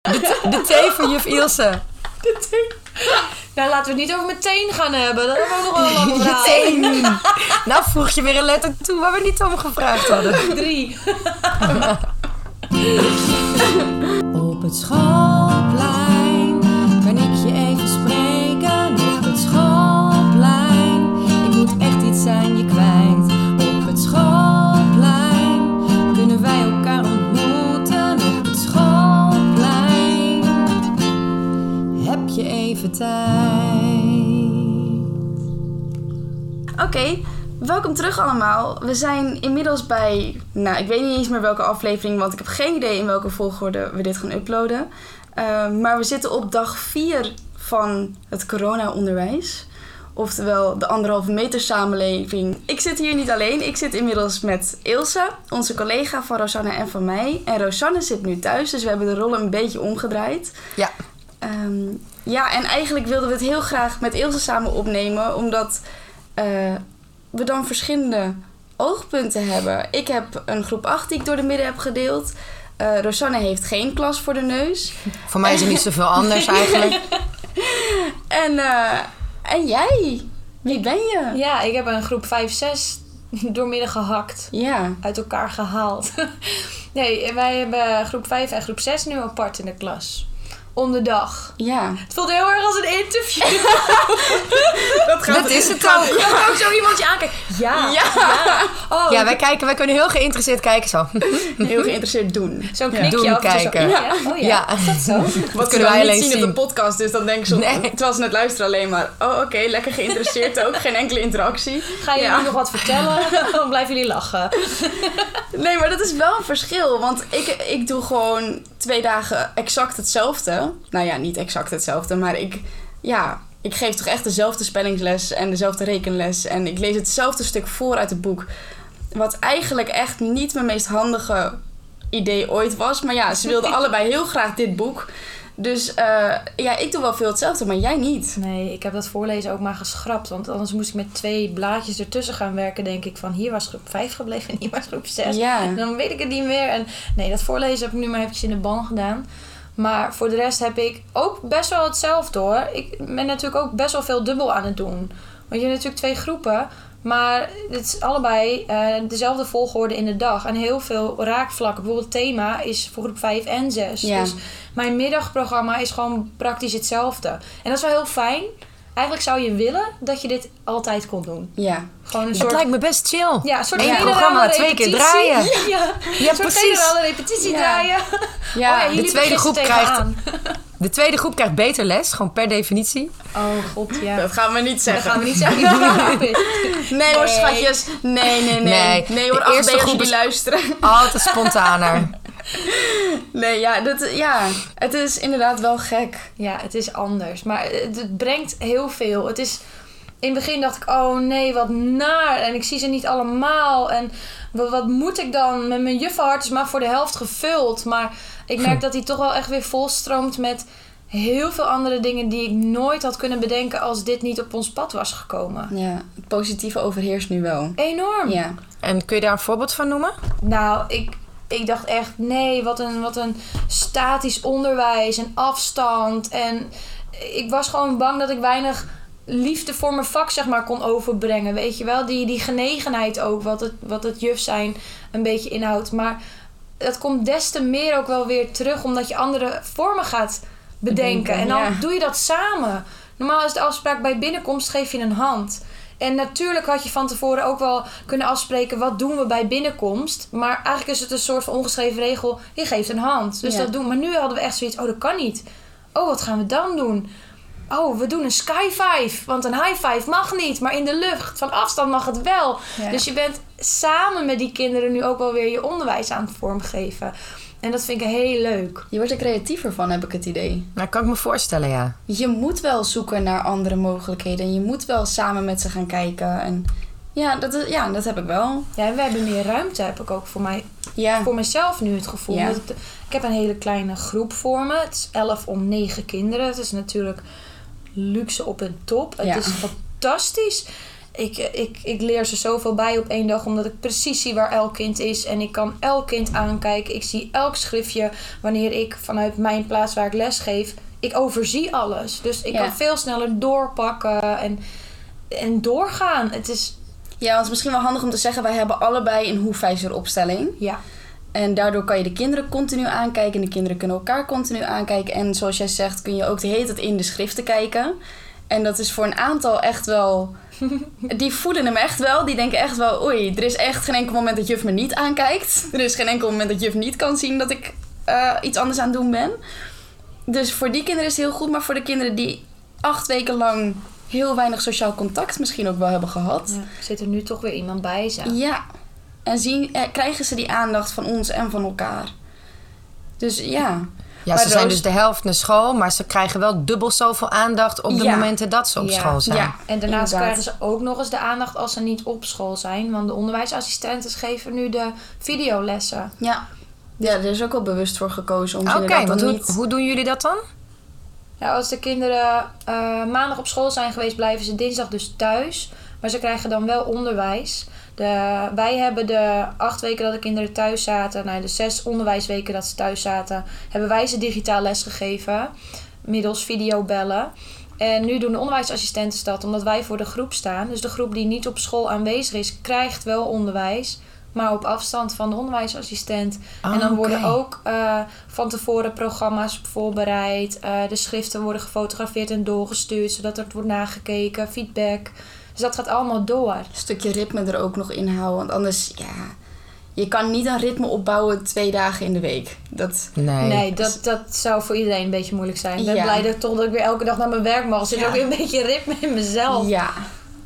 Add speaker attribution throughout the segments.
Speaker 1: De, de thee van juf Ilse.
Speaker 2: Nou, laten we het niet over meteen gaan hebben. Dat hebben we ook nog wel een lang verhaal.
Speaker 1: Nou voeg je weer een letter toe waar we niet om gevraagd hadden.
Speaker 2: Drie.
Speaker 1: Op het schoolplein kan ik je even spreken. Op het schoolplein, ik moet echt iets aan je kwijt. Op het schoolplein kunnen wij elkaar ontmoeten. Op het schoolplein heb je even tijd.
Speaker 3: Oké, welkom terug allemaal. We zijn inmiddels bij, nou ik weet niet eens meer welke aflevering, want ik heb geen idee in welke volgorde we dit gaan uploaden. Eh, maar we zitten op dag 4 van het corona-onderwijs. Oftewel de anderhalve meter samenleving. Ik zit hier niet alleen. Ik zit inmiddels met Ilse, onze collega van Rosanne en van mij. En Rosanne zit nu thuis, dus we hebben de rollen een beetje omgedraaid.
Speaker 1: Ja.
Speaker 3: Ehm, ja, en eigenlijk wilden we het heel graag met Ilse samen opnemen, omdat eh, we dan verschillende oogpunten hebben. Ik heb een groep 8 die ik door de midden heb gedeeld. Eh Rosanne heeft geen klas voor de neus.
Speaker 1: Voor mij is er niet zoveel anders eigenlijk.
Speaker 3: En, eh, en jij? Wie ben je?
Speaker 2: Ja, ik heb een groep 5-6 doormidden gehakt.
Speaker 3: Ja,
Speaker 2: Uit elkaar gehaald. Nee, wij hebben groep 5 en groep 6 nu apart in de klas. Om de dag.
Speaker 3: ja.
Speaker 2: Het voelt heel erg als een interview.
Speaker 1: Dat is het ook.
Speaker 2: Dat ook zo iemand je aankijkt. Ja.
Speaker 3: Ja.
Speaker 2: Oh,
Speaker 1: Ja, wij, kijken, wij kunnen heel geïnteresseerd kijken zo.
Speaker 3: Heel geïnteresseerd doen.
Speaker 2: zo'n
Speaker 1: Ja.
Speaker 2: knikje
Speaker 1: Doen
Speaker 2: af en toe zo.
Speaker 1: kijken.
Speaker 2: Ja. Oh ja.
Speaker 1: Ja.
Speaker 2: Is dat zo?
Speaker 3: Wat
Speaker 1: kunnen wij alleen zien.
Speaker 3: podcast, dus dan denken ze,
Speaker 1: Nee.
Speaker 3: terwijl ze net luisteren alleen maar... Oh, oké, lekker geïnteresseerd ook. Geen enkele interactie.
Speaker 2: Ga je
Speaker 3: Ja.
Speaker 2: nu nog wat vertellen? Dan blijven jullie lachen.
Speaker 3: Nee, maar dat is wel een verschil. Want ik, ik doe gewoon twee dagen exact hetzelfde. Nou ja, niet exact hetzelfde, maar ik, ja, ik geef toch echt dezelfde spellingsles en dezelfde rekenles. En ik lees hetzelfde stuk voor uit het boek. Wat eigenlijk echt niet mijn meest handige idee ooit was. Maar ja, ze wilden allebei heel graag dit boek. Dus eh, ja, ik doe wel veel hetzelfde, maar jij niet.
Speaker 2: Nee, ik heb dat voorlezen ook maar geschrapt. Want anders moest ik met twee blaadjes ertussen gaan werken, denk ik. Van hier was groep 5 gebleven en hier was groep 6.
Speaker 3: Ja.
Speaker 2: En dan weet ik het niet meer. En nee, dat voorlezen heb ik nu maar eventjes in de ban gedaan. Maar voor de rest heb ik ook best wel hetzelfde hoor. Ik ben natuurlijk ook best wel veel dubbel aan het doen. Want je hebt natuurlijk twee groepen. Maar het is allebei eh, dezelfde volgorde in de dag. En heel veel raakvlakken. Bijvoorbeeld thema is voor groep 5 en 6.
Speaker 3: Ja.
Speaker 2: Dus mijn middagprogramma is gewoon praktisch hetzelfde. En dat is wel heel fijn. Eigenlijk zou je willen dat je dit altijd kon doen.
Speaker 3: Ja.
Speaker 2: Gewoon een
Speaker 1: Het
Speaker 2: soort...
Speaker 1: lijkt me best chill.
Speaker 2: Ja, een soort
Speaker 1: Eén
Speaker 2: generale
Speaker 1: programma, twee keer
Speaker 2: repetitie.
Speaker 1: draaien.
Speaker 2: Ja,
Speaker 1: Ja,
Speaker 2: een soort
Speaker 1: precies.
Speaker 2: generale repetitie
Speaker 3: Ja.
Speaker 2: draaien.
Speaker 3: Ja,
Speaker 2: oh ja,
Speaker 3: de
Speaker 2: hier liep ik
Speaker 1: tweede groep
Speaker 2: gisteren
Speaker 1: krijgt-
Speaker 2: tegenaan.
Speaker 1: De tweede groep krijgt beter les, gewoon per definitie.
Speaker 2: Oh god, ja.
Speaker 3: Dat gaan we niet
Speaker 2: Dat
Speaker 3: zeggen.
Speaker 2: gaan we niet zeggen. Die groep is.
Speaker 3: Nee hoor, schatjes. Nee, nee, nee.
Speaker 1: Nee,
Speaker 3: Nee, hoor,
Speaker 1: de
Speaker 3: af
Speaker 1: eerste
Speaker 3: als
Speaker 1: groep
Speaker 3: jullie
Speaker 1: is-
Speaker 3: luisteren.
Speaker 1: Altijd spontaner.
Speaker 3: Nee, ja, dat, ja, het is inderdaad wel gek.
Speaker 2: Ja, het is anders. Maar het, het brengt heel veel. Het is... In het begin dacht ik, oh nee, wat naar. En ik zie ze niet allemaal. En wa- wat moet ik dan? Met mijn juffenhart is maar voor de helft gevuld. Maar ik
Speaker 1: Hm.
Speaker 2: merk dat hij toch wel echt weer volstroomt met heel veel andere dingen die ik nooit had kunnen bedenken als dit niet op ons pad was gekomen.
Speaker 3: Ja, het positieve overheerst nu wel.
Speaker 1: Hmm.
Speaker 2: Enorm.
Speaker 3: Ja.
Speaker 1: En kun je daar een voorbeeld van noemen?
Speaker 2: Nou, ik, ik dacht echt, nee, wat een, wat een statisch onderwijs en afstand. En ik was gewoon bang dat ik weinig liefde voor mijn vak, zeg maar, kon overbrengen. Weet je wel, die, die genegenheid ook, wat het, wat het juf zijn een beetje inhoudt. Maar dat komt des te meer ook wel weer terug, omdat je andere vormen gaat bedenken.
Speaker 3: Bedenken,
Speaker 2: en dan
Speaker 3: ja.
Speaker 2: doe je dat samen. Normaal is de afspraak bij binnenkomst geef je een hand. En natuurlijk had je van tevoren ook wel kunnen afspreken wat doen we bij binnenkomst. Maar eigenlijk is het een soort van ongeschreven regel. Je geeft een hand. Dus
Speaker 3: Ja.
Speaker 2: dat doen. Maar nu hadden we echt zoiets. Oh, dat kan niet. Oh, wat gaan we dan doen? Oh, we doen een sky five. Want een high five mag niet. Maar in de lucht, van afstand mag het wel.
Speaker 3: Ja.
Speaker 2: Dus je bent samen met die kinderen nu ook wel weer je onderwijs aan het vormgeven. En dat vind ik heel leuk.
Speaker 3: Je wordt er creatiever van, heb ik het idee.
Speaker 1: Nou, kan ik me voorstellen, ja.
Speaker 3: Je moet wel zoeken naar andere mogelijkheden. En je moet wel samen met ze gaan kijken. En ja, dat, is- ja, dat heb ik wel.
Speaker 2: Ja, en we hebben meer ruimte, heb ik ook voor mij
Speaker 3: Ja.
Speaker 2: voor mezelf nu het gevoel.
Speaker 3: Ah. Ja.
Speaker 2: dat ik, ik heb een hele kleine groep voor me. Het is 11 om 9 kinderen. Het is natuurlijk luxe op een top. Het
Speaker 3: Ja.
Speaker 2: is fantastisch. ik, ik, ik leer ze zoveel bij op één dag, omdat ik precies zie waar elk kind is. En ik kan elk kind aankijken. Ik zie elk schriftje wanneer ik vanuit mijn plaats waar ik les geef. Ik overzie alles. Dus ik
Speaker 3: Ja.
Speaker 2: kan veel sneller doorpakken en, en doorgaan. Het is.
Speaker 3: Ja, want het is misschien wel handig om te zeggen, wij hebben allebei een hoe opstelling.
Speaker 2: Ja.
Speaker 3: En daardoor kan je de kinderen continu aankijken. En de kinderen kunnen elkaar continu aankijken. En zoals jij zegt, kun je ook de hele tijd in de schriften kijken. En dat is voor een aantal echt wel... Die voelen hem echt wel. Die denken echt wel... Oei, er is echt geen enkel moment dat juf me niet aankijkt. Er is geen enkel moment dat juf niet kan zien dat ik eh, iets anders aan het doen ben. Dus voor die kinderen is het heel goed. Maar voor de kinderen die acht weken lang heel weinig sociaal contact misschien ook wel hebben gehad.
Speaker 2: ja. Zit er nu toch weer iemand bij? Zeg.
Speaker 3: Ja. En zien, eh, krijgen ze die aandacht van ons en van elkaar. Dus ja.
Speaker 4: Ja,
Speaker 3: Maar
Speaker 4: ze zijn
Speaker 3: Roos-
Speaker 4: dus de helft naar school, maar ze krijgen wel dubbel zoveel aandacht op de
Speaker 3: Ja.
Speaker 4: momenten dat ze op
Speaker 2: Ja.
Speaker 4: school zijn.
Speaker 3: Ja.
Speaker 2: En daarnaast
Speaker 3: Inderdaad.
Speaker 2: krijgen ze ook nog eens de aandacht als ze niet op school zijn. Want de onderwijsassistenten geven nu de videolessen.
Speaker 3: Ja. Ja, er is ook wel bewust voor gekozen om ze
Speaker 4: Oké,
Speaker 3: inderdaad
Speaker 4: want
Speaker 3: dan
Speaker 4: hoe,
Speaker 3: niet...
Speaker 4: hoe doen jullie dat dan?
Speaker 2: Ja, als de kinderen eh, maandag op school zijn geweest, blijven ze dinsdag dus thuis. Maar ze krijgen dan wel onderwijs. De, wij hebben de acht weken dat de kinderen thuis zaten, nou, de zes onderwijsweken dat ze thuis zaten, hebben wij ze digitaal les gegeven. Middels videobellen. En nu doen de onderwijsassistenten dat omdat wij voor de groep staan. Dus de groep die niet op school aanwezig is, krijgt wel onderwijs. Maar op afstand van de onderwijsassistent en dan
Speaker 4: Ah,
Speaker 2: worden
Speaker 4: oké.
Speaker 2: ook eh, van tevoren programma's voorbereid. Eh, de schriften worden gefotografeerd en doorgestuurd, zodat het wordt nagekeken, feedback. Dus dat gaat allemaal door.
Speaker 3: Een stukje ritme er ook nog in houden. Want anders, ja... Je kan niet een ritme opbouwen twee dagen in de week. Dat...
Speaker 4: Nee.
Speaker 2: Nee, dat, dat zou voor iedereen een beetje moeilijk zijn. Ik ben
Speaker 3: Ja.
Speaker 2: blij dat, toch dat ik weer elke dag naar mijn werk mag. Er zit
Speaker 3: Ja.
Speaker 2: ook weer een beetje ritme in mezelf.
Speaker 3: Ja.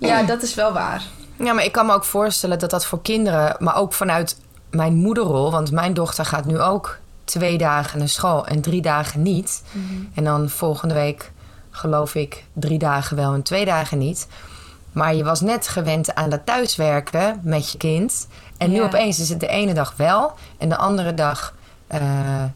Speaker 2: Oh.
Speaker 3: Ja, dat is wel waar.
Speaker 4: Ja, maar ik kan me ook voorstellen dat dat voor kinderen, maar ook vanuit mijn moederrol, want mijn dochter gaat nu ook twee dagen naar school en drie dagen niet. En dan volgende week geloof ik drie dagen wel en twee dagen niet. Maar je was net gewend aan dat thuiswerken met je kind. En nu
Speaker 2: Ja.
Speaker 4: opeens is het de ene dag wel en de andere dag eh,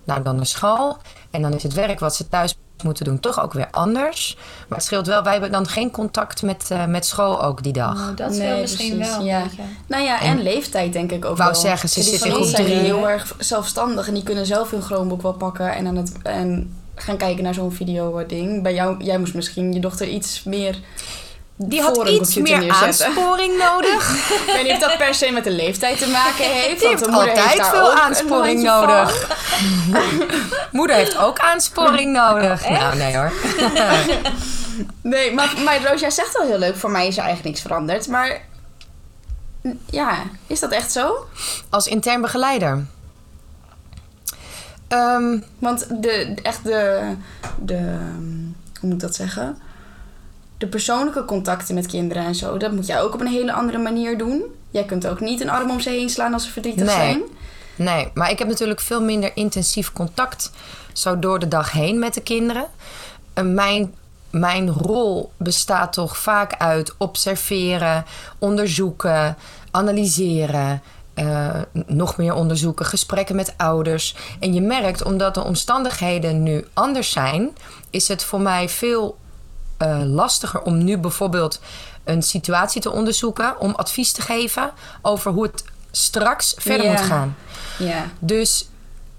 Speaker 4: nou dan naar school. En dan is het werk wat ze thuis moeten doen toch ook weer anders. Maar het scheelt wel, wij hebben dan geen contact met, eh, met school ook die dag.
Speaker 2: Nou, dat
Speaker 3: Nee,
Speaker 2: scheelt misschien
Speaker 3: precies,
Speaker 2: wel.
Speaker 3: ja.
Speaker 2: weet je.
Speaker 3: Nou ja, en, leeftijd denk ik ook
Speaker 4: Wou
Speaker 3: wel.
Speaker 4: zeggen, ze
Speaker 3: Die
Speaker 4: zitten
Speaker 3: van
Speaker 2: in
Speaker 3: ons
Speaker 2: groep
Speaker 3: zijn
Speaker 2: drie.
Speaker 3: heel erg zelfstandig en die kunnen zelf hun Chromebook wel pakken en, aan het, en gaan kijken naar zo'n video eh, ding. Bij jou, jij moest misschien je dochter iets meer
Speaker 4: Die
Speaker 3: voor
Speaker 4: had
Speaker 3: een
Speaker 4: iets
Speaker 3: computer
Speaker 4: meer
Speaker 3: neerzetten.
Speaker 4: aansporing nodig.
Speaker 3: Ik weet niet of dat per se met de leeftijd te maken heeft.
Speaker 4: Die
Speaker 3: want
Speaker 4: heeft
Speaker 3: de moeder heeft
Speaker 4: altijd
Speaker 3: daar
Speaker 4: veel
Speaker 3: ook een
Speaker 4: aansporing
Speaker 3: handje van.
Speaker 4: nodig. Moeder heeft ook aansporing nodig. Nou, nee hoor.
Speaker 3: Nee, maar, maar Roos, jij zegt wel heel leuk, voor mij is er eigenlijk niks veranderd. Maar ja, is dat echt zo?
Speaker 4: Als intern begeleider. Ehm,
Speaker 3: Want de, echt de, de, hoe moet ik dat zeggen? De persoonlijke contacten met kinderen en zo, dat moet jij ook op een hele andere manier doen. Jij kunt ook niet een arm om ze heen slaan als ze verdrietig
Speaker 4: Nee.
Speaker 3: zijn.
Speaker 4: Nee, maar ik heb natuurlijk veel minder intensief contact zo door de dag heen met de kinderen. En mijn, mijn rol bestaat toch vaak uit observeren, onderzoeken, analyseren. eh, nog meer onderzoeken, gesprekken met ouders. En je merkt, omdat de omstandigheden nu anders zijn, is het voor mij veel eh, lastiger om nu bijvoorbeeld een situatie te onderzoeken, om advies te geven over hoe het straks verder
Speaker 3: Ja.
Speaker 4: moet gaan.
Speaker 3: Ja.
Speaker 4: Dus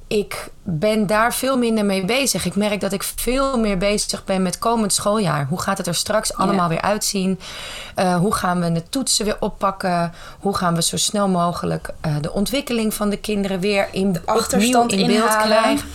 Speaker 4: ik ben daar veel minder mee bezig. Ik merk dat ik veel meer bezig ben met komend schooljaar. Hoe gaat het er straks allemaal weer uitzien? Eh, hoe gaan we de toetsen weer oppakken? Hoe gaan we zo snel mogelijk eh, de ontwikkeling van de kinderen weer in, opnieuw
Speaker 3: achterstand
Speaker 4: in beeld
Speaker 3: inhalen.
Speaker 4: krijgen?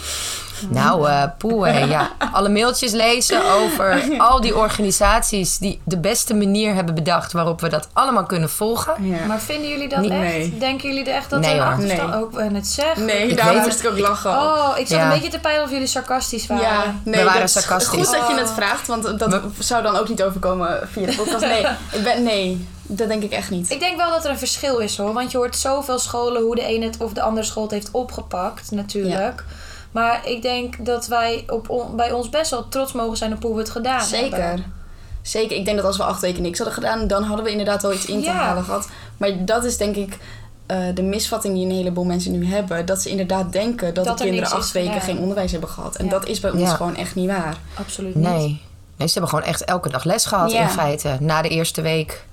Speaker 4: Nou, eh poeh, hè, ja. Alle mailtjes lezen over al die organisaties die de beste manier hebben bedacht waarop we dat allemaal kunnen volgen.
Speaker 3: ja.
Speaker 2: Maar vinden jullie dat
Speaker 4: Niet-
Speaker 2: echt?
Speaker 3: nee.
Speaker 2: Denken jullie echt dat
Speaker 4: Nee,
Speaker 2: er
Speaker 4: hoor.
Speaker 2: achterstand
Speaker 3: Nee.
Speaker 2: ook en het zeggen?
Speaker 3: nee,
Speaker 4: Ik
Speaker 3: daar
Speaker 4: weet
Speaker 3: moest ik ook lachen.
Speaker 2: Oh, ik zat
Speaker 4: Ja.
Speaker 2: een beetje te peilen of jullie sarcastisch waren.
Speaker 3: Ja, nee,
Speaker 4: We waren
Speaker 3: dat is
Speaker 4: sarcastisch.
Speaker 3: Goed dat je het vraagt, want dat zou dan ook niet overkomen via de podcast. Nee, ik ben, nee dat denk ik echt niet.
Speaker 2: Ik denk wel dat er een verschil is hoor. Want je hoort zoveel scholen hoe de ene het of de andere school het heeft opgepakt, natuurlijk. Maar ik denk dat wij op on- bij ons best wel trots mogen zijn op hoe we het gedaan hebben.
Speaker 3: Zeker. Ah, Zeker. Ik denk dat als we acht weken niks hadden gedaan, dan hadden we inderdaad wel iets in te
Speaker 2: Ja.
Speaker 3: halen gehad. Maar dat is denk ik eh, de misvatting die een heleboel mensen nu hebben. Dat ze inderdaad denken
Speaker 2: Dat
Speaker 3: dat, de
Speaker 2: er
Speaker 3: kinderen
Speaker 2: niks is
Speaker 3: acht weken
Speaker 2: gedaan.
Speaker 3: geen onderwijs hebben gehad. En
Speaker 2: Ja.
Speaker 3: dat is bij ons
Speaker 4: Ja.
Speaker 3: gewoon echt niet waar.
Speaker 2: Absoluut niet.
Speaker 4: Nee. nee, ze hebben gewoon echt elke dag les gehad
Speaker 3: Ja.
Speaker 4: in feite. Na de eerste week.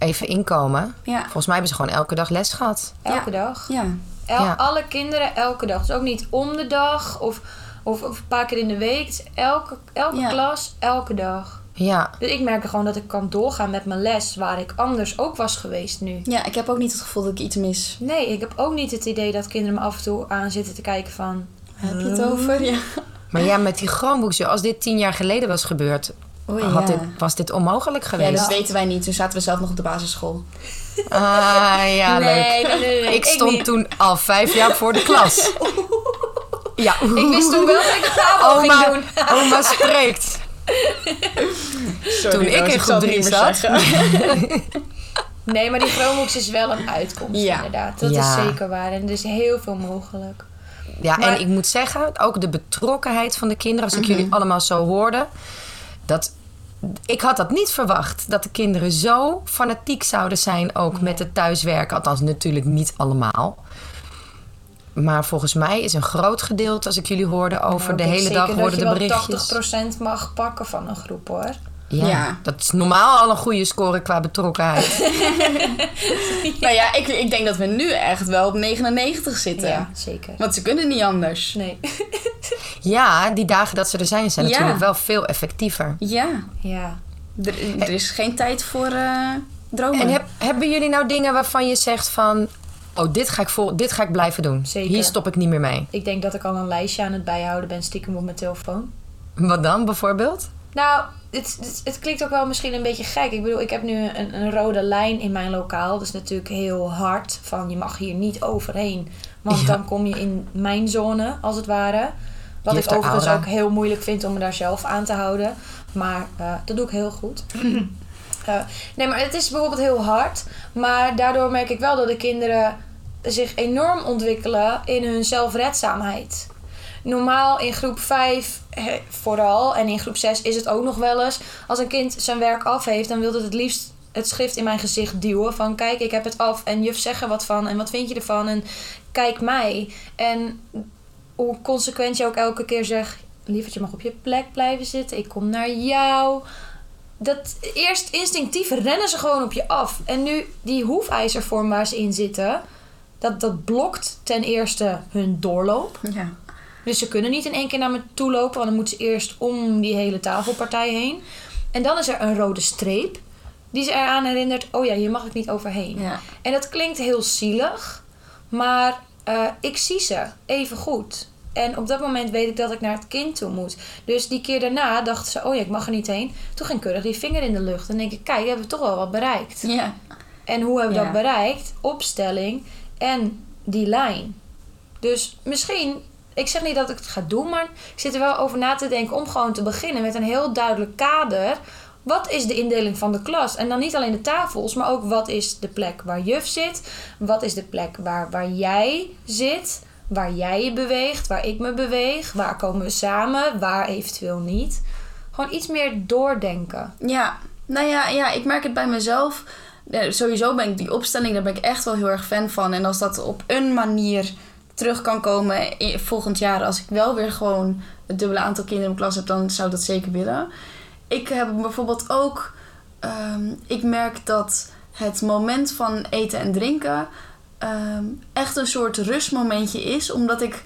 Speaker 4: even inkomen.
Speaker 3: Ja.
Speaker 4: Volgens mij hebben ze gewoon elke dag les gehad.
Speaker 2: Elke dag.
Speaker 3: Ja.
Speaker 2: El-
Speaker 4: Ja.
Speaker 2: Alle kinderen elke dag. Dus ook niet om de dag of, of, of een paar keer in de week. Het is elke elke
Speaker 3: Ja.
Speaker 2: klas, elke dag.
Speaker 4: Ja,
Speaker 2: Dus ik merk gewoon dat ik kan doorgaan met mijn les waar ik anders ook was geweest nu.
Speaker 3: Ja, ik heb ook niet het gevoel dat ik iets mis.
Speaker 2: Nee, ik heb ook niet het idee dat kinderen me af en toe aan zitten te kijken van...
Speaker 3: Waar heb je het over? Ja.
Speaker 4: maar ja, met die Chromebooks, joh, als dit tien jaar geleden was gebeurd,
Speaker 3: Oei,
Speaker 4: had
Speaker 3: ja.
Speaker 4: dit, was dit onmogelijk
Speaker 3: ja,
Speaker 4: geweest.
Speaker 3: dat weten wij niet. Toen zaten we zelf nog op de basisschool.
Speaker 4: Ah, ja, leuk.
Speaker 2: nee, nee, nee, nee,
Speaker 4: Ik stond
Speaker 2: niet.
Speaker 4: toen al vijf jaar voor de klas. Ja,
Speaker 2: Ik wist toen wel dat ik het kabel ging
Speaker 4: oma,
Speaker 2: doen.
Speaker 4: oma spreekt.
Speaker 3: Sorry,
Speaker 4: Toen ik
Speaker 3: Roos,
Speaker 4: in
Speaker 3: zal
Speaker 4: groep
Speaker 3: het
Speaker 4: drie
Speaker 3: niet meer
Speaker 4: zat.
Speaker 3: zeggen.
Speaker 2: Nee, maar die Chromebooks is wel een uitkomst
Speaker 3: Ja.
Speaker 2: inderdaad. Dat
Speaker 4: Ja.
Speaker 2: is zeker waar. En er is heel veel mogelijk.
Speaker 4: Ja,
Speaker 2: Maar- Mhm.
Speaker 4: en ik moet zeggen, ook de betrokkenheid van de kinderen, als ik jullie allemaal zo hoorde, dat ik had dat niet verwacht dat de kinderen zo fanatiek zouden zijn ook met het thuiswerken, althans natuurlijk niet allemaal. Maar volgens mij is een groot gedeelte, als ik jullie hoorde, over
Speaker 2: Nou,
Speaker 4: de
Speaker 2: ik
Speaker 4: hele
Speaker 2: denk
Speaker 4: dag
Speaker 2: zeker
Speaker 4: worden de
Speaker 2: dat je wel
Speaker 4: berichtjes.
Speaker 2: 80% mag pakken van een groep hoor.
Speaker 4: Ja,
Speaker 3: Ja.
Speaker 4: dat is normaal al een goede score qua betrokkenheid.
Speaker 3: Nou ja, ik, ik denk dat we nu echt wel op 99 zitten.
Speaker 2: Ja, zeker.
Speaker 3: Want ze kunnen niet anders.
Speaker 2: Nee.
Speaker 4: ja, die dagen dat ze er zijn, zijn
Speaker 3: Ja.
Speaker 4: natuurlijk wel veel effectiever.
Speaker 3: Ja,
Speaker 2: Ja.
Speaker 3: er, er is geen tijd voor eh, dromen.
Speaker 4: En heb, hebben jullie nou dingen waarvan je zegt van... Oh, dit ga ik, vol, dit ga ik blijven doen.
Speaker 2: Zeker.
Speaker 4: Hier stop ik niet meer mee.
Speaker 2: Ik denk dat ik al een lijstje aan het bijhouden ben, stiekem op mijn telefoon.
Speaker 4: Wat dan bijvoorbeeld?
Speaker 2: Nou, het, het, het klinkt ook wel misschien een beetje gek. Ik bedoel, ik heb nu een, een rode lijn in mijn lokaal. Dat is natuurlijk heel hard. Van je mag hier niet overheen. Want
Speaker 4: Ja.
Speaker 2: dan kom je in mijn zone, als het ware. Wat
Speaker 4: Je
Speaker 2: ik
Speaker 4: hebt de
Speaker 2: overigens
Speaker 4: aura.
Speaker 2: ook heel moeilijk vind om me daar zelf aan te houden. Maar eh, dat doe ik heel goed. Eh, nee, maar het is bijvoorbeeld heel hard. Maar daardoor merk ik wel dat de kinderen zich enorm ontwikkelen in hun zelfredzaamheid. Normaal in groep 5 eh, vooral en in groep 6 is het ook nog wel eens. Als een kind zijn werk af heeft, dan wil het het liefst het schrift in mijn gezicht duwen. Van kijk, ik heb het af en juf zeg er wat van en wat vind je ervan en kijk mij. En hoe consequent je ook elke keer zegt, lieverd je mag op je plek blijven zitten, ik kom naar jou dat eerst instinctief rennen ze gewoon op je af. En nu die hoefijzervorm waar ze in zitten, dat, dat blokt ten eerste hun doorloop.
Speaker 3: Ja.
Speaker 2: Dus ze kunnen niet in één keer naar me toe lopen, want dan moeten ze eerst om die hele tafelpartij heen. En dan is er een rode streep die ze eraan herinnert: oh ja, hier mag ik niet overheen.
Speaker 3: ja.
Speaker 2: En dat klinkt heel zielig, maar eh, ik zie ze even goed. En op dat moment weet ik dat ik naar het kind toe moet. Dus die keer daarna dacht ze, oh ja, ik mag er niet heen. Toen ging keurig die vinger in de lucht. En denk ik, kijk, hebben we toch wel wat bereikt.
Speaker 3: Ja.
Speaker 2: En hoe hebben we dat
Speaker 3: Ja.
Speaker 2: bereikt? Opstelling en die lijn. Dus misschien, ik zeg niet dat ik het ga doen, maar ik zit er wel over na te denken om gewoon te beginnen met een heel duidelijk kader. Wat is de indeling van de klas? En dan niet alleen de tafels, maar ook wat is de plek waar juf zit? Wat is de plek waar, waar jij zit? Waar jij je beweegt, waar ik me beweeg? Waar komen we samen? Waar eventueel niet? Gewoon iets meer doordenken.
Speaker 3: Ja, nou ja, ja, ik merk het bij mezelf. Eh, Sowieso ben ik die opstelling, daar ben ik echt wel heel erg fan van. En als dat op een manier terug kan komen i- volgend jaar, als ik wel weer gewoon het dubbele aantal kinderen in mijn klas heb, dan zou ik dat zeker willen. Ik heb bijvoorbeeld ook, ehm, ik merk dat het moment van eten en drinken ehm, echt een soort rustmomentje is, omdat ik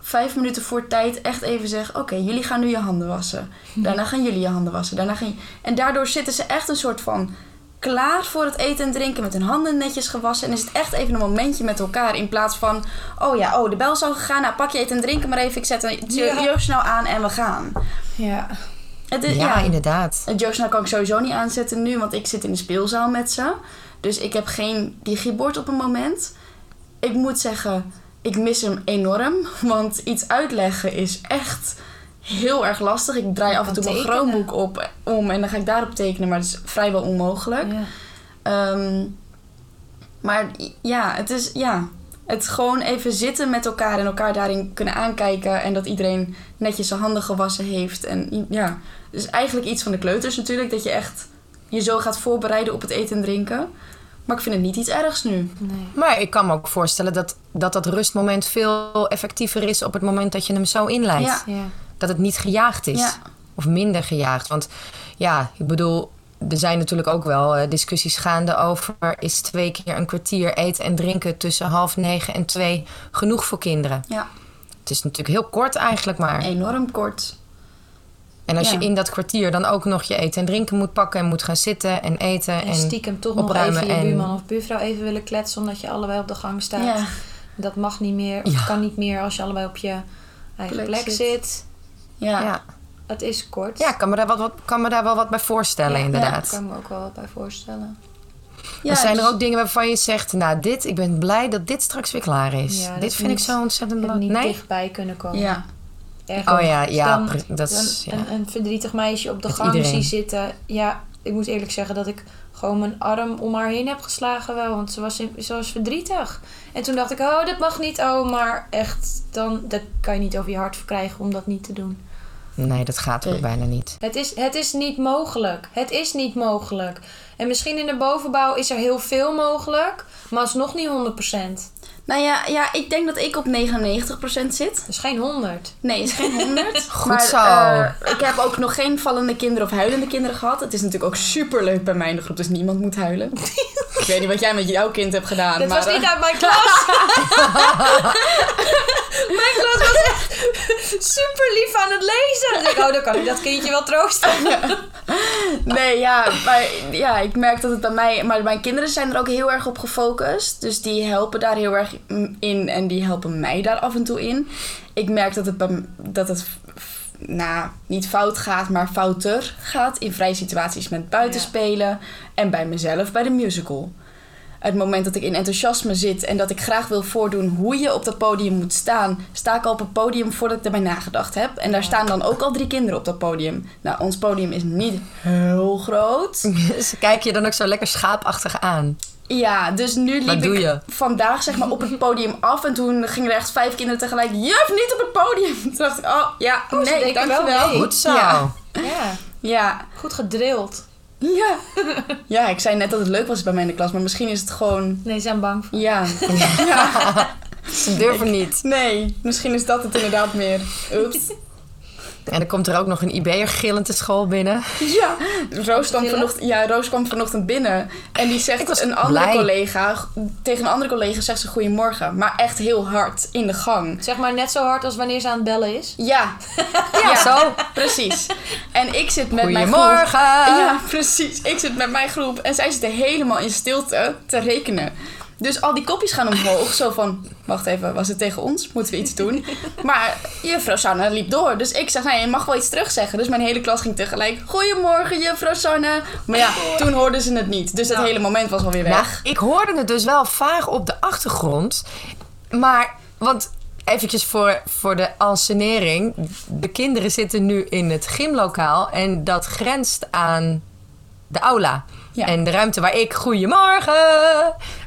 Speaker 3: vijf minuten voor tijd echt even zeg: Oké, jullie gaan nu je handen wassen.
Speaker 2: Mhm.
Speaker 3: Daarna gaan jullie je handen wassen. Daarna gaan je- En daardoor zitten ze echt een soort van klaar voor het eten en drinken met hun handen netjes gewassen. En is het echt even een momentje met elkaar in plaats van: Oh ja, oh, de bel is al gegaan. Nou, pak je eten en drinken maar even. Ik zet een jo-
Speaker 2: Ja.
Speaker 3: snel aan en we gaan.
Speaker 2: Ja.
Speaker 3: Het
Speaker 4: Ja,
Speaker 3: is, ja,
Speaker 4: inderdaad.
Speaker 3: het Joost kan ik sowieso niet aanzetten nu, want ik zit in de speelzaal met ze. Dus ik heb geen digibord op een moment. Ik moet zeggen, ik mis hem enorm. Want iets uitleggen is echt heel erg lastig. Ik draai af en toe mijn
Speaker 2: tekenen.
Speaker 3: Chromebook op, om en dan ga ik daarop tekenen, maar dat is vrijwel onmogelijk.
Speaker 2: ja.
Speaker 3: Ehm, maar ja, het is ja, het gewoon even zitten met elkaar en elkaar daarin kunnen aankijken en dat iedereen netjes zijn handen gewassen heeft en ja, dus eigenlijk iets van de kleuters natuurlijk dat je echt je zo gaat voorbereiden op het eten en drinken. Maar ik vind het niet iets ergs nu.
Speaker 2: Nee.
Speaker 4: Maar ik kan me ook voorstellen dat, dat dat rustmoment veel effectiever is op het moment dat je hem zo inleidt.
Speaker 3: Ja.
Speaker 2: Ja.
Speaker 4: Dat het niet gejaagd is.
Speaker 3: Ja.
Speaker 4: Of minder gejaagd. Want ja, ik bedoel, er zijn natuurlijk ook wel eh, discussies gaande over... is twee keer een kwartier eten en drinken tussen half negen en twee genoeg voor kinderen?
Speaker 3: Ja,
Speaker 4: Het is natuurlijk heel kort eigenlijk maar.
Speaker 3: enorm kort.
Speaker 4: En als
Speaker 3: Ja.
Speaker 4: je in dat kwartier dan ook nog je eten en drinken moet pakken en moet gaan zitten en eten.
Speaker 2: En
Speaker 4: En
Speaker 2: stiekem toch nog
Speaker 4: opruimen
Speaker 2: even je
Speaker 4: en-
Speaker 2: buurman of buurvrouw even willen kletsen... omdat je allebei op de gang staat.
Speaker 3: Ja.
Speaker 2: Dat mag niet meer, of
Speaker 4: Ja.
Speaker 2: kan niet meer als je allebei op je eigen
Speaker 3: Plek
Speaker 2: plek,
Speaker 3: zit.
Speaker 2: zit.
Speaker 3: Ja.
Speaker 4: ja,
Speaker 2: Het is kort.
Speaker 4: ja ik kan, me daar wat, wat, kan me daar wel wat bij voorstellen,
Speaker 2: Ja,
Speaker 4: inderdaad.
Speaker 2: Daar kan ik me ook wel wat bij voorstellen.
Speaker 3: Ja,
Speaker 4: Maar zijn
Speaker 3: dus-
Speaker 4: er ook dingen waarvan je zegt, nou dit, ik ben blij dat dit straks weer klaar is.
Speaker 2: Ja,
Speaker 4: dit
Speaker 2: dat
Speaker 4: vind
Speaker 2: niet-
Speaker 4: ik zo ontzettend
Speaker 2: Het niet
Speaker 4: belangrijk. Nee?
Speaker 2: dichtbij kunnen komen.
Speaker 3: Ja,
Speaker 2: Echt.
Speaker 4: Oh ja, ja,
Speaker 2: Dan-
Speaker 4: pre- dat is,
Speaker 2: Dan
Speaker 4: ja.
Speaker 2: een, een verdrietig meisje op de
Speaker 4: Met
Speaker 2: gang
Speaker 4: iedereen.
Speaker 2: zie zitten. Ja, ik moet eerlijk zeggen dat ik gewoon mijn arm om haar heen heb geslagen wel. Want ze was, in- ze was verdrietig. En toen dacht ik, oh, dat mag niet. Oh, maar echt, dan, dat kan je niet over je hart verkrijgen om dat niet te doen.
Speaker 4: Nee, dat gaat ook
Speaker 3: Nee.
Speaker 4: bijna niet.
Speaker 2: Het is, het is niet mogelijk. Het is niet mogelijk. En misschien in de bovenbouw is er heel veel mogelijk. Maar alsnog niet 100%.
Speaker 3: nou ja, ja, ik denk dat ik op 99% zit.
Speaker 2: Dat is geen 100.
Speaker 3: Nee, het is geen 100.
Speaker 4: Goed
Speaker 3: maar,
Speaker 4: zo.
Speaker 3: eh, ik heb ook nog geen vallende kinderen of huilende kinderen gehad. Het is natuurlijk ook super leuk bij mij in de groep, dus niemand moet huilen. ik weet niet wat jij met jouw kind hebt gedaan.
Speaker 2: Dat
Speaker 3: maar,
Speaker 2: was
Speaker 3: eh,
Speaker 2: niet uit mijn klas. mijn klas was echt super lief aan het lezen. Dan denk ik, oh, dan kan ik dat kindje wel troosten.
Speaker 3: Nee, ja, maar ja, ik merk dat het bij mij... Maar mijn kinderen zijn er ook heel erg op gefocust. Dus die helpen daar heel erg in en die helpen mij daar af en toe in. Ik merk dat het, bij, m- dat het f- f- nou, niet fout gaat, maar fouter gaat. In vrije situaties met buitenspelen. En bij mezelf, bij de musical. Het moment dat ik in enthousiasme zit en dat ik graag wil voordoen hoe je op dat podium moet staan, sta ik al op het podium voordat ik erbij nagedacht heb. En daar staan dan ook al drie kinderen op dat podium. Nou, ons podium is niet heel groot.
Speaker 4: Ze kijken je dan ook zo lekker schaapachtig aan.
Speaker 3: Ja, dus nu
Speaker 4: Wat
Speaker 3: liep
Speaker 4: doe
Speaker 3: ik
Speaker 4: je?
Speaker 3: vandaag zeg maar op het podium af en toen gingen er echt vijf kinderen tegelijk, juf, niet op het podium. Toen dacht ik, oh ja, nee,
Speaker 2: denken wel
Speaker 3: dankjewel.
Speaker 2: mee.
Speaker 4: Goed zo.
Speaker 3: Ja.
Speaker 2: Ja,
Speaker 3: Ja.
Speaker 2: goed gedrild.
Speaker 3: Ja. ja, ik zei net dat het leuk was bij mij in de klas, maar misschien is het gewoon,
Speaker 2: Nee, ze zijn bang voor.
Speaker 3: ja.
Speaker 4: Ze durven niet.
Speaker 3: Nee, misschien is dat het inderdaad meer. Oeps.
Speaker 4: En dan komt er ook nog een IB'er gillend de school binnen.
Speaker 3: Ja, Roos, kwam
Speaker 2: Gillen?
Speaker 3: vanochtend, ja, Roos kwam vanochtend binnen. En die
Speaker 4: Ik
Speaker 3: zegt
Speaker 4: was
Speaker 3: een andere
Speaker 4: blij.
Speaker 3: collega, g- tegen een andere collega zegt ze goedemorgen. Maar echt heel hard, in de gang.
Speaker 2: Zeg maar net zo hard als wanneer ze aan het bellen is.
Speaker 3: Ja,
Speaker 4: Ja, zo.
Speaker 3: precies. En ik zit met mijn groep.
Speaker 4: Goedemorgen.
Speaker 3: Ja, precies. Ik zit met mijn groep en zij zitten helemaal in stilte te rekenen. Dus al die kopjes gaan omhoog. Zo van, wacht even, was het tegen ons? Moeten we iets doen? Maar juffrouw Sanne liep door. Dus ik zeg, nee, je mag wel iets terugzeggen. Dus mijn hele klas ging tegelijk, goedemorgen juffrouw Sanne. Maar ja, toen hoorden ze het niet. Dus dat hele moment was alweer
Speaker 4: Nou,
Speaker 3: weg.
Speaker 4: ik hoorde het dus wel vaag op de achtergrond. Maar, want eventjes voor, voor de ansenering. De kinderen zitten nu in het gymlokaal. En dat grenst aan de aula.
Speaker 3: Ja.
Speaker 4: En de ruimte waar ik goedemorgen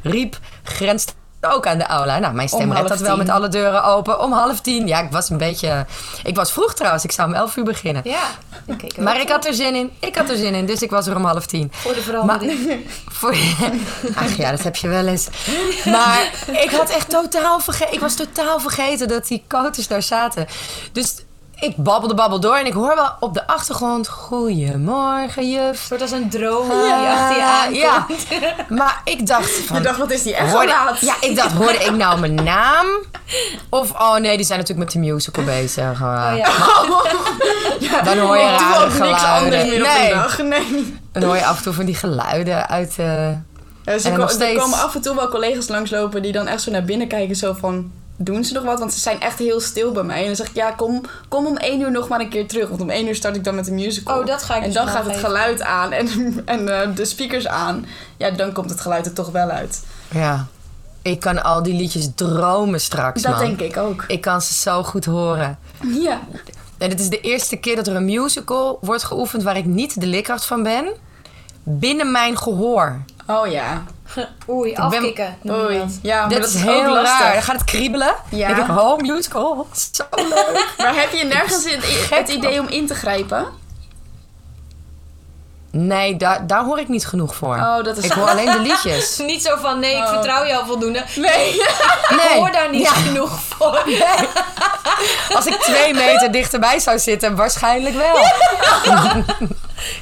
Speaker 4: riep, grenst ook aan de aula. Nou, mijn
Speaker 3: Om
Speaker 4: stem redt
Speaker 3: half
Speaker 4: dat wel
Speaker 3: tien.
Speaker 4: met alle deuren open. Om half tien. Ja, ik was een beetje... Ik was vroeg trouwens. Ik zou om elf uur beginnen.
Speaker 2: Ja, ik keek er
Speaker 4: Maar
Speaker 2: wel
Speaker 4: ik had er zin in. Ik had er zin in. Dus ik was er om half tien.
Speaker 2: voor de verandering.
Speaker 4: Voor Ach ja, dat heb je wel eens. Maar ik had echt totaal vergeten. Ik was totaal vergeten dat die coaches daar zaten. Dus ik babbelde babbel door en ik hoor wel op de achtergrond: Goedemorgen, juf.
Speaker 2: Een soort als een droom die achter je aankomt.
Speaker 4: Ja. Maar ik dacht van.
Speaker 3: Je dacht, wat is die echt
Speaker 4: hoorde-
Speaker 3: laat?
Speaker 4: ja, ik dacht, hoorde ik nou mijn naam? Of, oh nee, die zijn natuurlijk met de musical bezig.
Speaker 2: Oh ja.
Speaker 4: Dan hoor je
Speaker 3: Ik doe
Speaker 4: rare
Speaker 3: ook niks anders
Speaker 4: geluiden.
Speaker 3: meer op
Speaker 4: Nee.
Speaker 3: een dag. Nee.
Speaker 4: Dan hoor je af en toe van die geluiden uit... eh,
Speaker 3: Ja, ze
Speaker 4: En
Speaker 3: ko-
Speaker 4: nog
Speaker 3: Er
Speaker 4: steeds.
Speaker 3: komen af en toe wel collega's langslopen die dan echt zo naar binnen kijken. Zo van, doen ze nog wat? Want ze zijn echt heel stil bij mij. En dan zeg ik, ja, kom, kom om één uur nog maar een keer terug. Want om één uur start ik dan met de musical.
Speaker 2: Oh, dat ga ik
Speaker 3: En
Speaker 2: dus
Speaker 3: dan
Speaker 2: wel
Speaker 3: gaat het
Speaker 2: geven.
Speaker 3: geluid aan en, en eh, de speakers aan. Ja, dan komt het geluid er toch wel uit.
Speaker 4: Ja. Ik kan al die liedjes dromen straks,
Speaker 3: Dat
Speaker 4: man.
Speaker 3: denk ik ook.
Speaker 4: Ik kan ze zo goed horen.
Speaker 3: Ja.
Speaker 4: En het is de eerste keer dat er een musical wordt geoefend... waar ik niet de leerkracht van ben. Binnen mijn gehoor.
Speaker 3: Oh ja.
Speaker 2: Oei, afkikken. noem je
Speaker 3: Oei.
Speaker 2: dat.
Speaker 3: Ja, maar
Speaker 4: dat,
Speaker 3: dat
Speaker 4: is heel
Speaker 3: ook lastig.
Speaker 4: raar. Dan gaat het kriebelen.
Speaker 3: Ja.
Speaker 4: Dan denk ik, oh, musical. Zo leuk.
Speaker 3: Maar heb je nergens het, het idee om in te grijpen?
Speaker 4: Nee, daar, daar hoor ik niet genoeg voor.
Speaker 3: Oh, dat is...
Speaker 4: Ik hoor alleen de liedjes.
Speaker 2: Dus Niet zo van, nee, ik
Speaker 3: Oh.
Speaker 2: vertrouw jou voldoende.
Speaker 3: Nee.
Speaker 4: Nee.
Speaker 2: Ik hoor daar niet
Speaker 4: Ja,
Speaker 2: genoeg voor.
Speaker 4: als ik twee meter dichterbij zou zitten, waarschijnlijk wel.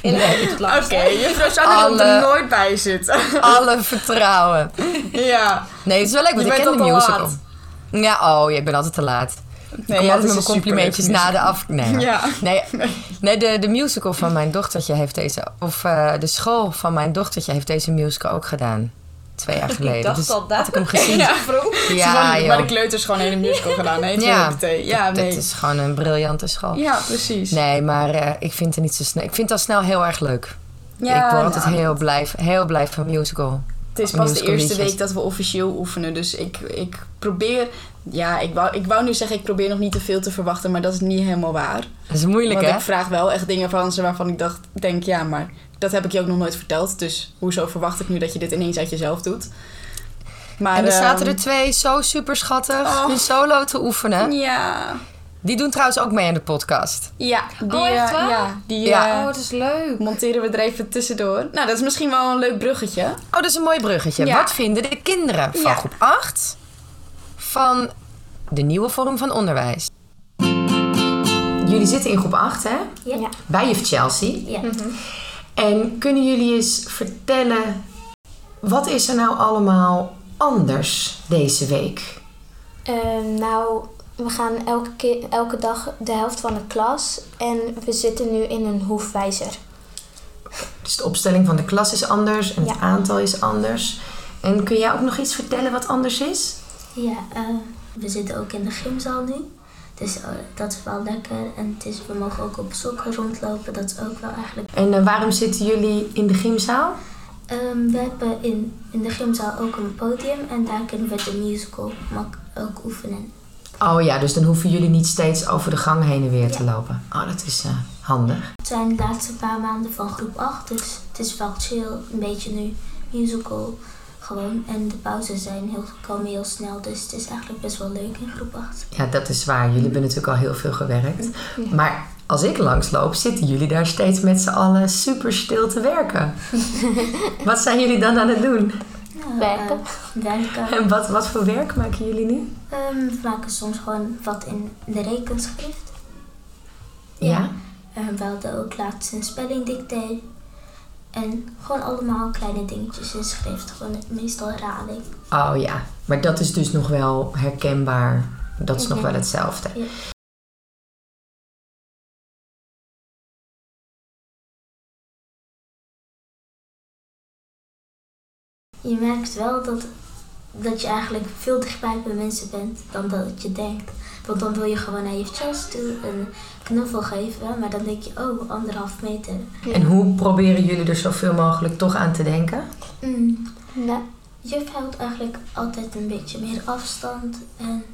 Speaker 2: In een auto tot langs.
Speaker 3: Oké, juffrouw Sanne
Speaker 4: Alle-
Speaker 3: komt er nooit bij zitten.
Speaker 4: Alle vertrouwen.
Speaker 3: ja.
Speaker 4: Nee, het is wel leuk, want
Speaker 2: Je
Speaker 4: ik
Speaker 2: bent
Speaker 4: ken de
Speaker 2: al te
Speaker 4: musical.
Speaker 2: laat.
Speaker 4: Ja, oh, ja, ik ben altijd te laat.
Speaker 3: Nee,
Speaker 4: ik
Speaker 3: ja,
Speaker 4: kom
Speaker 3: het is
Speaker 4: altijd met
Speaker 3: een
Speaker 4: mijn dus complimentjes
Speaker 3: superleuk
Speaker 4: na de af... Nee, hoor.
Speaker 3: Ja.
Speaker 4: nee, nee de, de musical van mijn dochtertje heeft deze... Of eh, de school van mijn dochtertje heeft deze musical ook gedaan. Twee jaar geleden.
Speaker 2: dacht
Speaker 4: dus
Speaker 2: al dat.
Speaker 4: Had ik hem gezien.
Speaker 3: Ja.
Speaker 2: vroeg.
Speaker 4: Ja,
Speaker 3: Gewoon, maar de
Speaker 4: joh.
Speaker 3: kleuters gewoon een hele musical gedaan. Nee,
Speaker 4: Ja.
Speaker 3: ja. ja,
Speaker 4: Dat
Speaker 3: nee.
Speaker 4: is gewoon een briljante school.
Speaker 3: Ja, precies.
Speaker 4: Nee, maar eh, ik vind het niet zo snel. Ik vind het al snel heel erg leuk.
Speaker 3: Ja,
Speaker 4: ik word altijd
Speaker 3: nou,
Speaker 4: heel blij, heel blij van musical.
Speaker 3: Het is pas de
Speaker 4: musical
Speaker 3: eerste
Speaker 4: liedjes.
Speaker 3: week dat we officieel oefenen. Dus ik, ik probeer... Ja, ik wou, ik wou nu zeggen, ik probeer nog niet te veel te verwachten. Maar dat is niet helemaal waar.
Speaker 4: Dat is moeilijk,
Speaker 3: Want
Speaker 4: hè?
Speaker 3: ik vraag wel echt dingen van ze waarvan ik dacht, denk, ja, maar dat heb ik je ook nog nooit verteld. Dus hoezo verwacht ik nu dat je dit ineens uit jezelf doet? Maar,
Speaker 4: En er zaten
Speaker 3: ehm,
Speaker 4: er twee zo super schattig
Speaker 3: Oh.
Speaker 4: hun solo te oefenen.
Speaker 3: Ja,
Speaker 4: Die doen trouwens ook mee aan de podcast.
Speaker 3: ja. Die,
Speaker 2: Oh, echt
Speaker 3: eh,
Speaker 2: waar?
Speaker 3: Ja, die
Speaker 4: Ja.
Speaker 3: eh,
Speaker 2: Oh, het is leuk.
Speaker 3: monteren we er even tussendoor. Nou, dat is misschien wel een leuk bruggetje.
Speaker 4: Oh, dat is een mooi bruggetje.
Speaker 3: Ja.
Speaker 4: Wat vinden de kinderen van
Speaker 3: Ja.
Speaker 4: groep 8 van de nieuwe vorm van onderwijs? Jullie zitten in groep 8, hè?
Speaker 5: Ja.
Speaker 4: Bij juf Chelsea.
Speaker 5: Ja.
Speaker 6: Mhm.
Speaker 4: En kunnen jullie eens vertellen... wat is er nou allemaal anders deze week?
Speaker 5: Ehm, nou, we gaan elke, keer, elke dag de helft van de klas en we zitten nu in een hoefwijzer.
Speaker 4: Dus de opstelling van de klas is anders en het
Speaker 5: Ja.
Speaker 4: aantal is anders. En kun jij ook nog iets vertellen wat anders is?
Speaker 6: Ja, eh, we zitten ook in de gymzaal nu. Dus eh, dat is wel lekker. En het is, we mogen ook op sokken rondlopen. Dat is ook wel eigenlijk.
Speaker 4: En eh, waarom zitten jullie in de gymzaal?
Speaker 6: Ehm, we hebben in, in de gymzaal ook een podium. En daar kunnen we de musical mak- ook oefenen.
Speaker 4: Oh ja, dus dan hoeven jullie niet steeds over de gang heen en weer te lopen. Oh, dat is eh, handig.
Speaker 6: Het zijn de laatste paar maanden van groep 8. Dus het is wel chill. Een beetje nu musical gewoon. En de pauzes zijn heel, komen heel snel. Dus het is eigenlijk best wel leuk in groep 8.
Speaker 4: Ja, dat is waar. Jullie hebben natuurlijk al heel veel gewerkt. Maar als ik langsloop, zitten jullie daar steeds met z'n allen super stil te werken. wat zijn jullie dan aan het doen?
Speaker 6: Nou,
Speaker 5: Werken.
Speaker 6: eh, werken.
Speaker 4: En wat, wat voor werk maken jullie nu?
Speaker 6: Ehm, we maken soms gewoon wat in de rekenschrift.
Speaker 4: Ja.
Speaker 6: En we hadden ook laatst een spellingdictaat. En gewoon allemaal kleine dingetjes in schrift. Gewoon het- meestal raad ik.
Speaker 4: Oh ja, maar dat is dus nog wel herkenbaar. Dat is nog wel hetzelfde.
Speaker 6: Ja. Je merkt wel dat, dat je eigenlijk veel dichtbij bij mensen bent dan dat je denkt. Want dan wil je gewoon naar je chest toe een knuffel geven. Maar dan denk je, oh, anderhalf meter.
Speaker 4: En hoe proberen jullie er zoveel mogelijk toch aan te denken?
Speaker 6: Mm,
Speaker 5: Nou,
Speaker 6: Juf houdt eigenlijk altijd een beetje meer afstand. En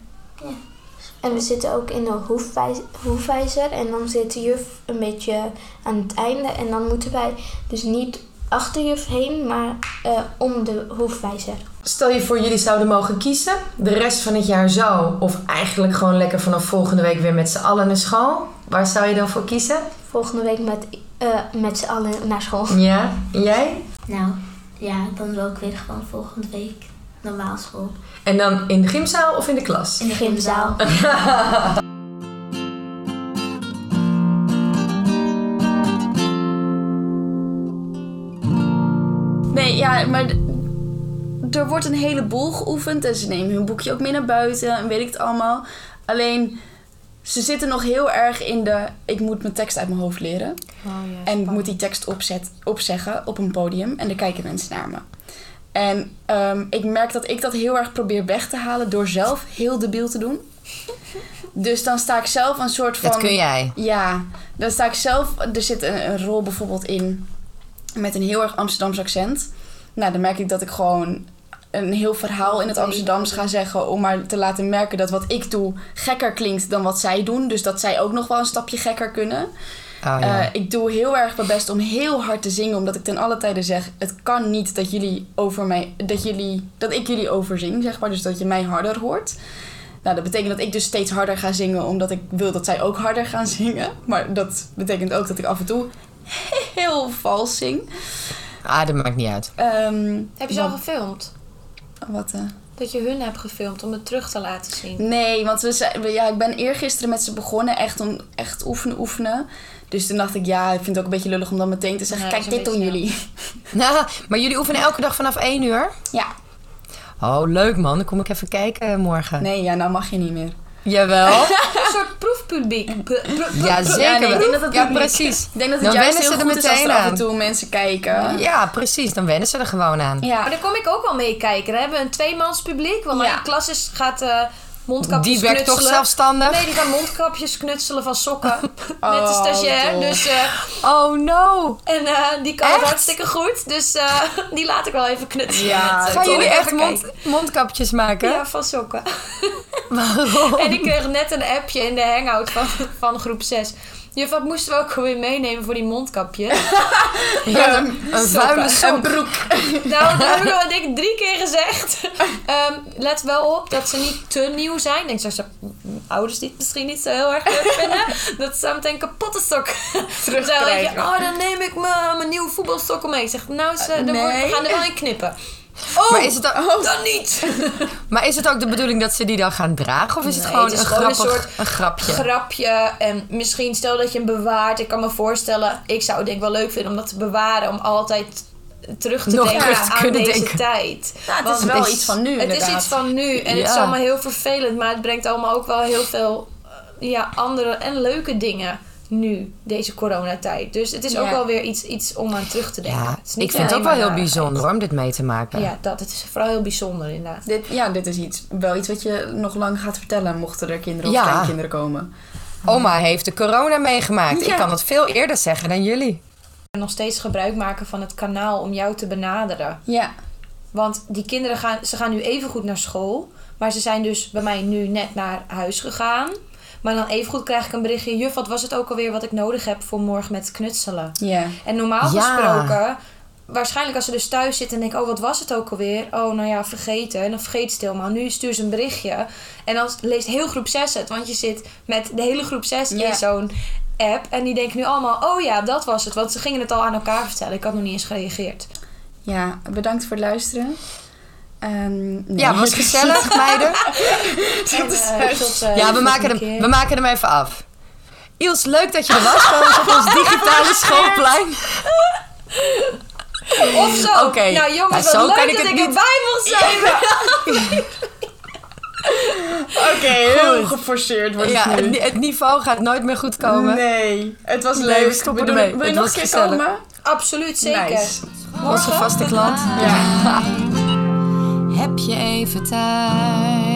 Speaker 5: en we zitten ook in een hoefwijz- hoefwijzer en dan zit de juf een beetje aan het einde en dan moeten wij dus niet achter juf heen, maar eh, om de hoefwijzer.
Speaker 4: Stel je voor, jullie zouden mogen kiezen. De rest van het jaar zo. Of eigenlijk gewoon lekker vanaf volgende week weer met z'n allen naar school. Waar zou je dan voor kiezen?
Speaker 5: Volgende week met, eh, met z'n allen naar school.
Speaker 4: Ja, en jij?
Speaker 6: nou, ja, dan wil ik weer gewoon volgende week normaal school.
Speaker 4: En dan in de gymzaal of in de klas?
Speaker 6: In de gymzaal.
Speaker 3: Nee, ja, maar d- er wordt een heleboel geoefend en ze nemen hun boekje ook mee naar buiten en weet ik het allemaal. Alleen, ze zitten nog heel erg in de, ik moet mijn tekst uit mijn hoofd leren.
Speaker 4: Oh,
Speaker 3: en ik moet die tekst opzet, opzeggen op een podium en dan kijken mensen naar me. En ehm, ik merk dat ik dat heel erg probeer weg te halen door zelf heel debiel te doen. Dus dan sta ik zelf een soort van...
Speaker 4: jij.
Speaker 3: Ja, dan sta ik zelf. Er zit een, een rol bijvoorbeeld in met een heel erg Amsterdams accent. Nou, dan merk ik dat ik gewoon een heel verhaal in het Amsterdams ga zeggen. Om maar te laten merken dat wat ik doe gekker klinkt dan wat zij doen. Dus dat zij ook nog wel een stapje gekker kunnen.
Speaker 2: Ah,
Speaker 4: Oh,
Speaker 3: Eh, ik doe heel erg mijn best om heel hard te zingen. Omdat ik ten alle tijde zeg: Het kan niet dat jullie over mij. Dat, jullie, dat ik jullie overzing, zeg maar. Dus dat je mij harder hoort. Nou, dat betekent dat ik dus steeds harder ga zingen. Omdat ik wil dat zij ook harder gaan zingen. Maar dat betekent ook dat ik af en toe heel vals zing.
Speaker 4: Ah, dat maakt niet uit.
Speaker 3: Ehm,
Speaker 2: Heb je ze al gefilmd?
Speaker 3: wat. eh,
Speaker 2: dat je hun hebt gefilmd om het terug te laten zien.
Speaker 3: Nee, want we zijn, we- ja, ik ben eergisteren met ze begonnen. Echt om echt oefenen, oefenen. Dus toen dacht ik, ja, ik vind het ook een beetje lullig om dan meteen te zeggen...
Speaker 2: Nee,
Speaker 3: kijk,
Speaker 2: dat is
Speaker 3: dit
Speaker 2: een
Speaker 3: doen
Speaker 2: beetje,
Speaker 3: jullie.
Speaker 4: Nou, maar jullie oefenen elke dag vanaf 1 uur?
Speaker 3: Ja.
Speaker 4: Oh, leuk man. Dan kom ik even kijken eh, morgen.
Speaker 3: Nee, ja, nou mag je niet meer.
Speaker 4: Jawel.
Speaker 2: Een soort proefpubliek. Pu- pu- pu-
Speaker 4: Ja,
Speaker 3: Ja, nee,
Speaker 4: zeker.
Speaker 3: ik denk dat het
Speaker 4: Ja,
Speaker 3: publiek-
Speaker 4: precies.
Speaker 3: Ik denk dat het
Speaker 4: Dan Nou,
Speaker 3: juist
Speaker 4: wennen
Speaker 3: heel
Speaker 4: ze er
Speaker 3: goed is als er
Speaker 4: meteen
Speaker 3: af en
Speaker 4: aan.
Speaker 3: toe mensen kijken.
Speaker 4: Ja, precies. Dan wennen ze er gewoon aan.
Speaker 2: Maar
Speaker 3: Ja.
Speaker 2: daar kom ik ook wel mee kijken. Dan hebben we een tweemans publiek. Want
Speaker 3: Ja.
Speaker 2: mijn klas is, gaat eh, mondkapjes
Speaker 4: Die werkt toch
Speaker 2: knutselen.
Speaker 4: zelfstandig?
Speaker 2: Nee, die gaan mondkapjes knutselen van sokken. met de
Speaker 3: Oh,
Speaker 2: stagiair.
Speaker 3: dom.
Speaker 2: Dus, eh,
Speaker 4: Oh no.
Speaker 2: en eh, die kan het
Speaker 4: Echt?
Speaker 2: hartstikke goed. Dus eh, die laat ik wel even knutselen.
Speaker 3: Ja,
Speaker 2: met ze.
Speaker 4: Gaan
Speaker 2: Kom
Speaker 4: jullie
Speaker 2: even
Speaker 4: echt mond-
Speaker 2: kijken.
Speaker 4: mondkapjes maken?
Speaker 2: Ja, van sokken.
Speaker 4: Waarom?
Speaker 2: En ik kreeg net een appje in de hangout van, van groep 6. Juf, wat moesten we ook alweer meenemen voor die mondkapjes?
Speaker 4: Ja, een een vuile sok.
Speaker 2: Nou, dat heb ik al denk ik drie keer gezegd. Ehm, let wel op dat ze niet te nieuw zijn. Ik denk dat ze ouders dit misschien niet zo heel erg leuk vinden. Dat ze meteen kapotte sokken terugkrijgen. Dan denk je, oh, dan neem ik mijn mijn nieuwe voetbalsokken mee. Ik zeg, nou, ze, dan worden- we gaan er wel in knippen.
Speaker 4: maar, is het ook,
Speaker 2: Dan niet!
Speaker 4: maar is het ook de bedoeling dat ze die dan gaan dragen? Of is het
Speaker 2: Nee,
Speaker 4: gewoon,
Speaker 2: het is
Speaker 4: een,
Speaker 2: gewoon een
Speaker 4: grappig,
Speaker 2: soort
Speaker 4: een grapje?
Speaker 2: Grapje. En misschien stel dat je hem bewaart. Ik kan me voorstellen, ik zou het denk ik wel leuk vinden om dat te bewaren. Om altijd terug te
Speaker 4: Nog
Speaker 2: denken
Speaker 4: terug te
Speaker 2: aan
Speaker 4: kunnen
Speaker 2: deze
Speaker 4: denken.
Speaker 2: tijd.
Speaker 3: Nou, het
Speaker 2: Want-
Speaker 3: is wel
Speaker 4: het is-
Speaker 3: iets van nu,
Speaker 2: Het is
Speaker 3: inderdaad.
Speaker 2: iets van nu en het is
Speaker 4: Ja.
Speaker 2: allemaal heel vervelend, maar het brengt allemaal ook wel heel veel eh, ja, andere en leuke dingen nu, deze coronatijd. Dus het is ook
Speaker 3: Ja.
Speaker 2: wel weer iets, iets om aan terug te denken.
Speaker 4: ja,
Speaker 2: Het is niet
Speaker 4: ik vind het
Speaker 2: alleen
Speaker 4: ook wel
Speaker 2: maar
Speaker 4: heel
Speaker 2: narigheid.
Speaker 4: bijzonder hoor, om dit mee te maken.
Speaker 2: Ja, dat. Het is vooral heel bijzonder inderdaad.
Speaker 3: Dit, ja, dit is iets, wel iets wat je nog lang gaat vertellen, mochten er kinderen of
Speaker 4: Ja.
Speaker 3: kleinkinderen komen.
Speaker 4: Oma heeft de corona meegemaakt.
Speaker 3: Ja.
Speaker 4: Ik kan dat veel eerder zeggen dan jullie.
Speaker 2: En nog steeds gebruik maken van het kanaal om jou te benaderen.
Speaker 3: Ja.
Speaker 2: Want die kinderen gaan, ze gaan nu even goed naar school. Maar ze zijn dus bij mij nu net naar huis gegaan. Maar dan even goed krijg ik een berichtje. Juf, wat was het ook alweer wat ik nodig heb voor morgen met knutselen?
Speaker 3: Ja.
Speaker 2: En normaal
Speaker 4: Ja.
Speaker 2: gesproken, waarschijnlijk als ze dus thuis zitten en denken, oh wat was het ook alweer? Oh nou ja, vergeten. En dan vergeet ze het helemaal. Nu stuur ze een berichtje. En dan leest heel groep 6 het, want je zit met de hele groep 6
Speaker 3: Ja.
Speaker 2: in zo'n app. En die denken nu allemaal, oh ja, dat was het. Want ze gingen het al aan elkaar vertellen. Ik had nog niet eens gereageerd.
Speaker 3: Ja, bedankt voor het luisteren. Ehm, nee.
Speaker 4: Ja, was gezellig, meiden.
Speaker 2: En, eh, tot, eh,
Speaker 4: Ja,
Speaker 2: de
Speaker 4: we maken,
Speaker 2: volgende
Speaker 4: hem,
Speaker 2: keer.
Speaker 4: we maken hem even af. Iels, leuk dat je er was bij ons op ons digitale schoolplein.
Speaker 2: Of zo.
Speaker 4: Oké.
Speaker 2: Nou jongens,
Speaker 4: Ja,
Speaker 2: wat
Speaker 4: zo
Speaker 2: leuk
Speaker 4: kan ik
Speaker 2: dat
Speaker 4: het
Speaker 2: ik
Speaker 4: niet-
Speaker 2: erbij mocht zijn.
Speaker 3: Oké, heel geforceerd wordt
Speaker 4: Ja,
Speaker 3: het
Speaker 4: het,
Speaker 3: nu.
Speaker 4: ni- het niveau gaat nooit meer goed komen.
Speaker 3: Nee, het was
Speaker 4: Nee,
Speaker 3: leuk.
Speaker 4: we stoppen
Speaker 3: Bedoel-
Speaker 4: ermee.
Speaker 3: Wil je
Speaker 4: Het
Speaker 3: nog een
Speaker 4: was
Speaker 3: keer
Speaker 4: gezellig.
Speaker 3: komen?
Speaker 2: Absoluut, zeker.
Speaker 3: Nice.
Speaker 4: Onze vaste klant.
Speaker 3: Ja.
Speaker 1: Heb je even tijd?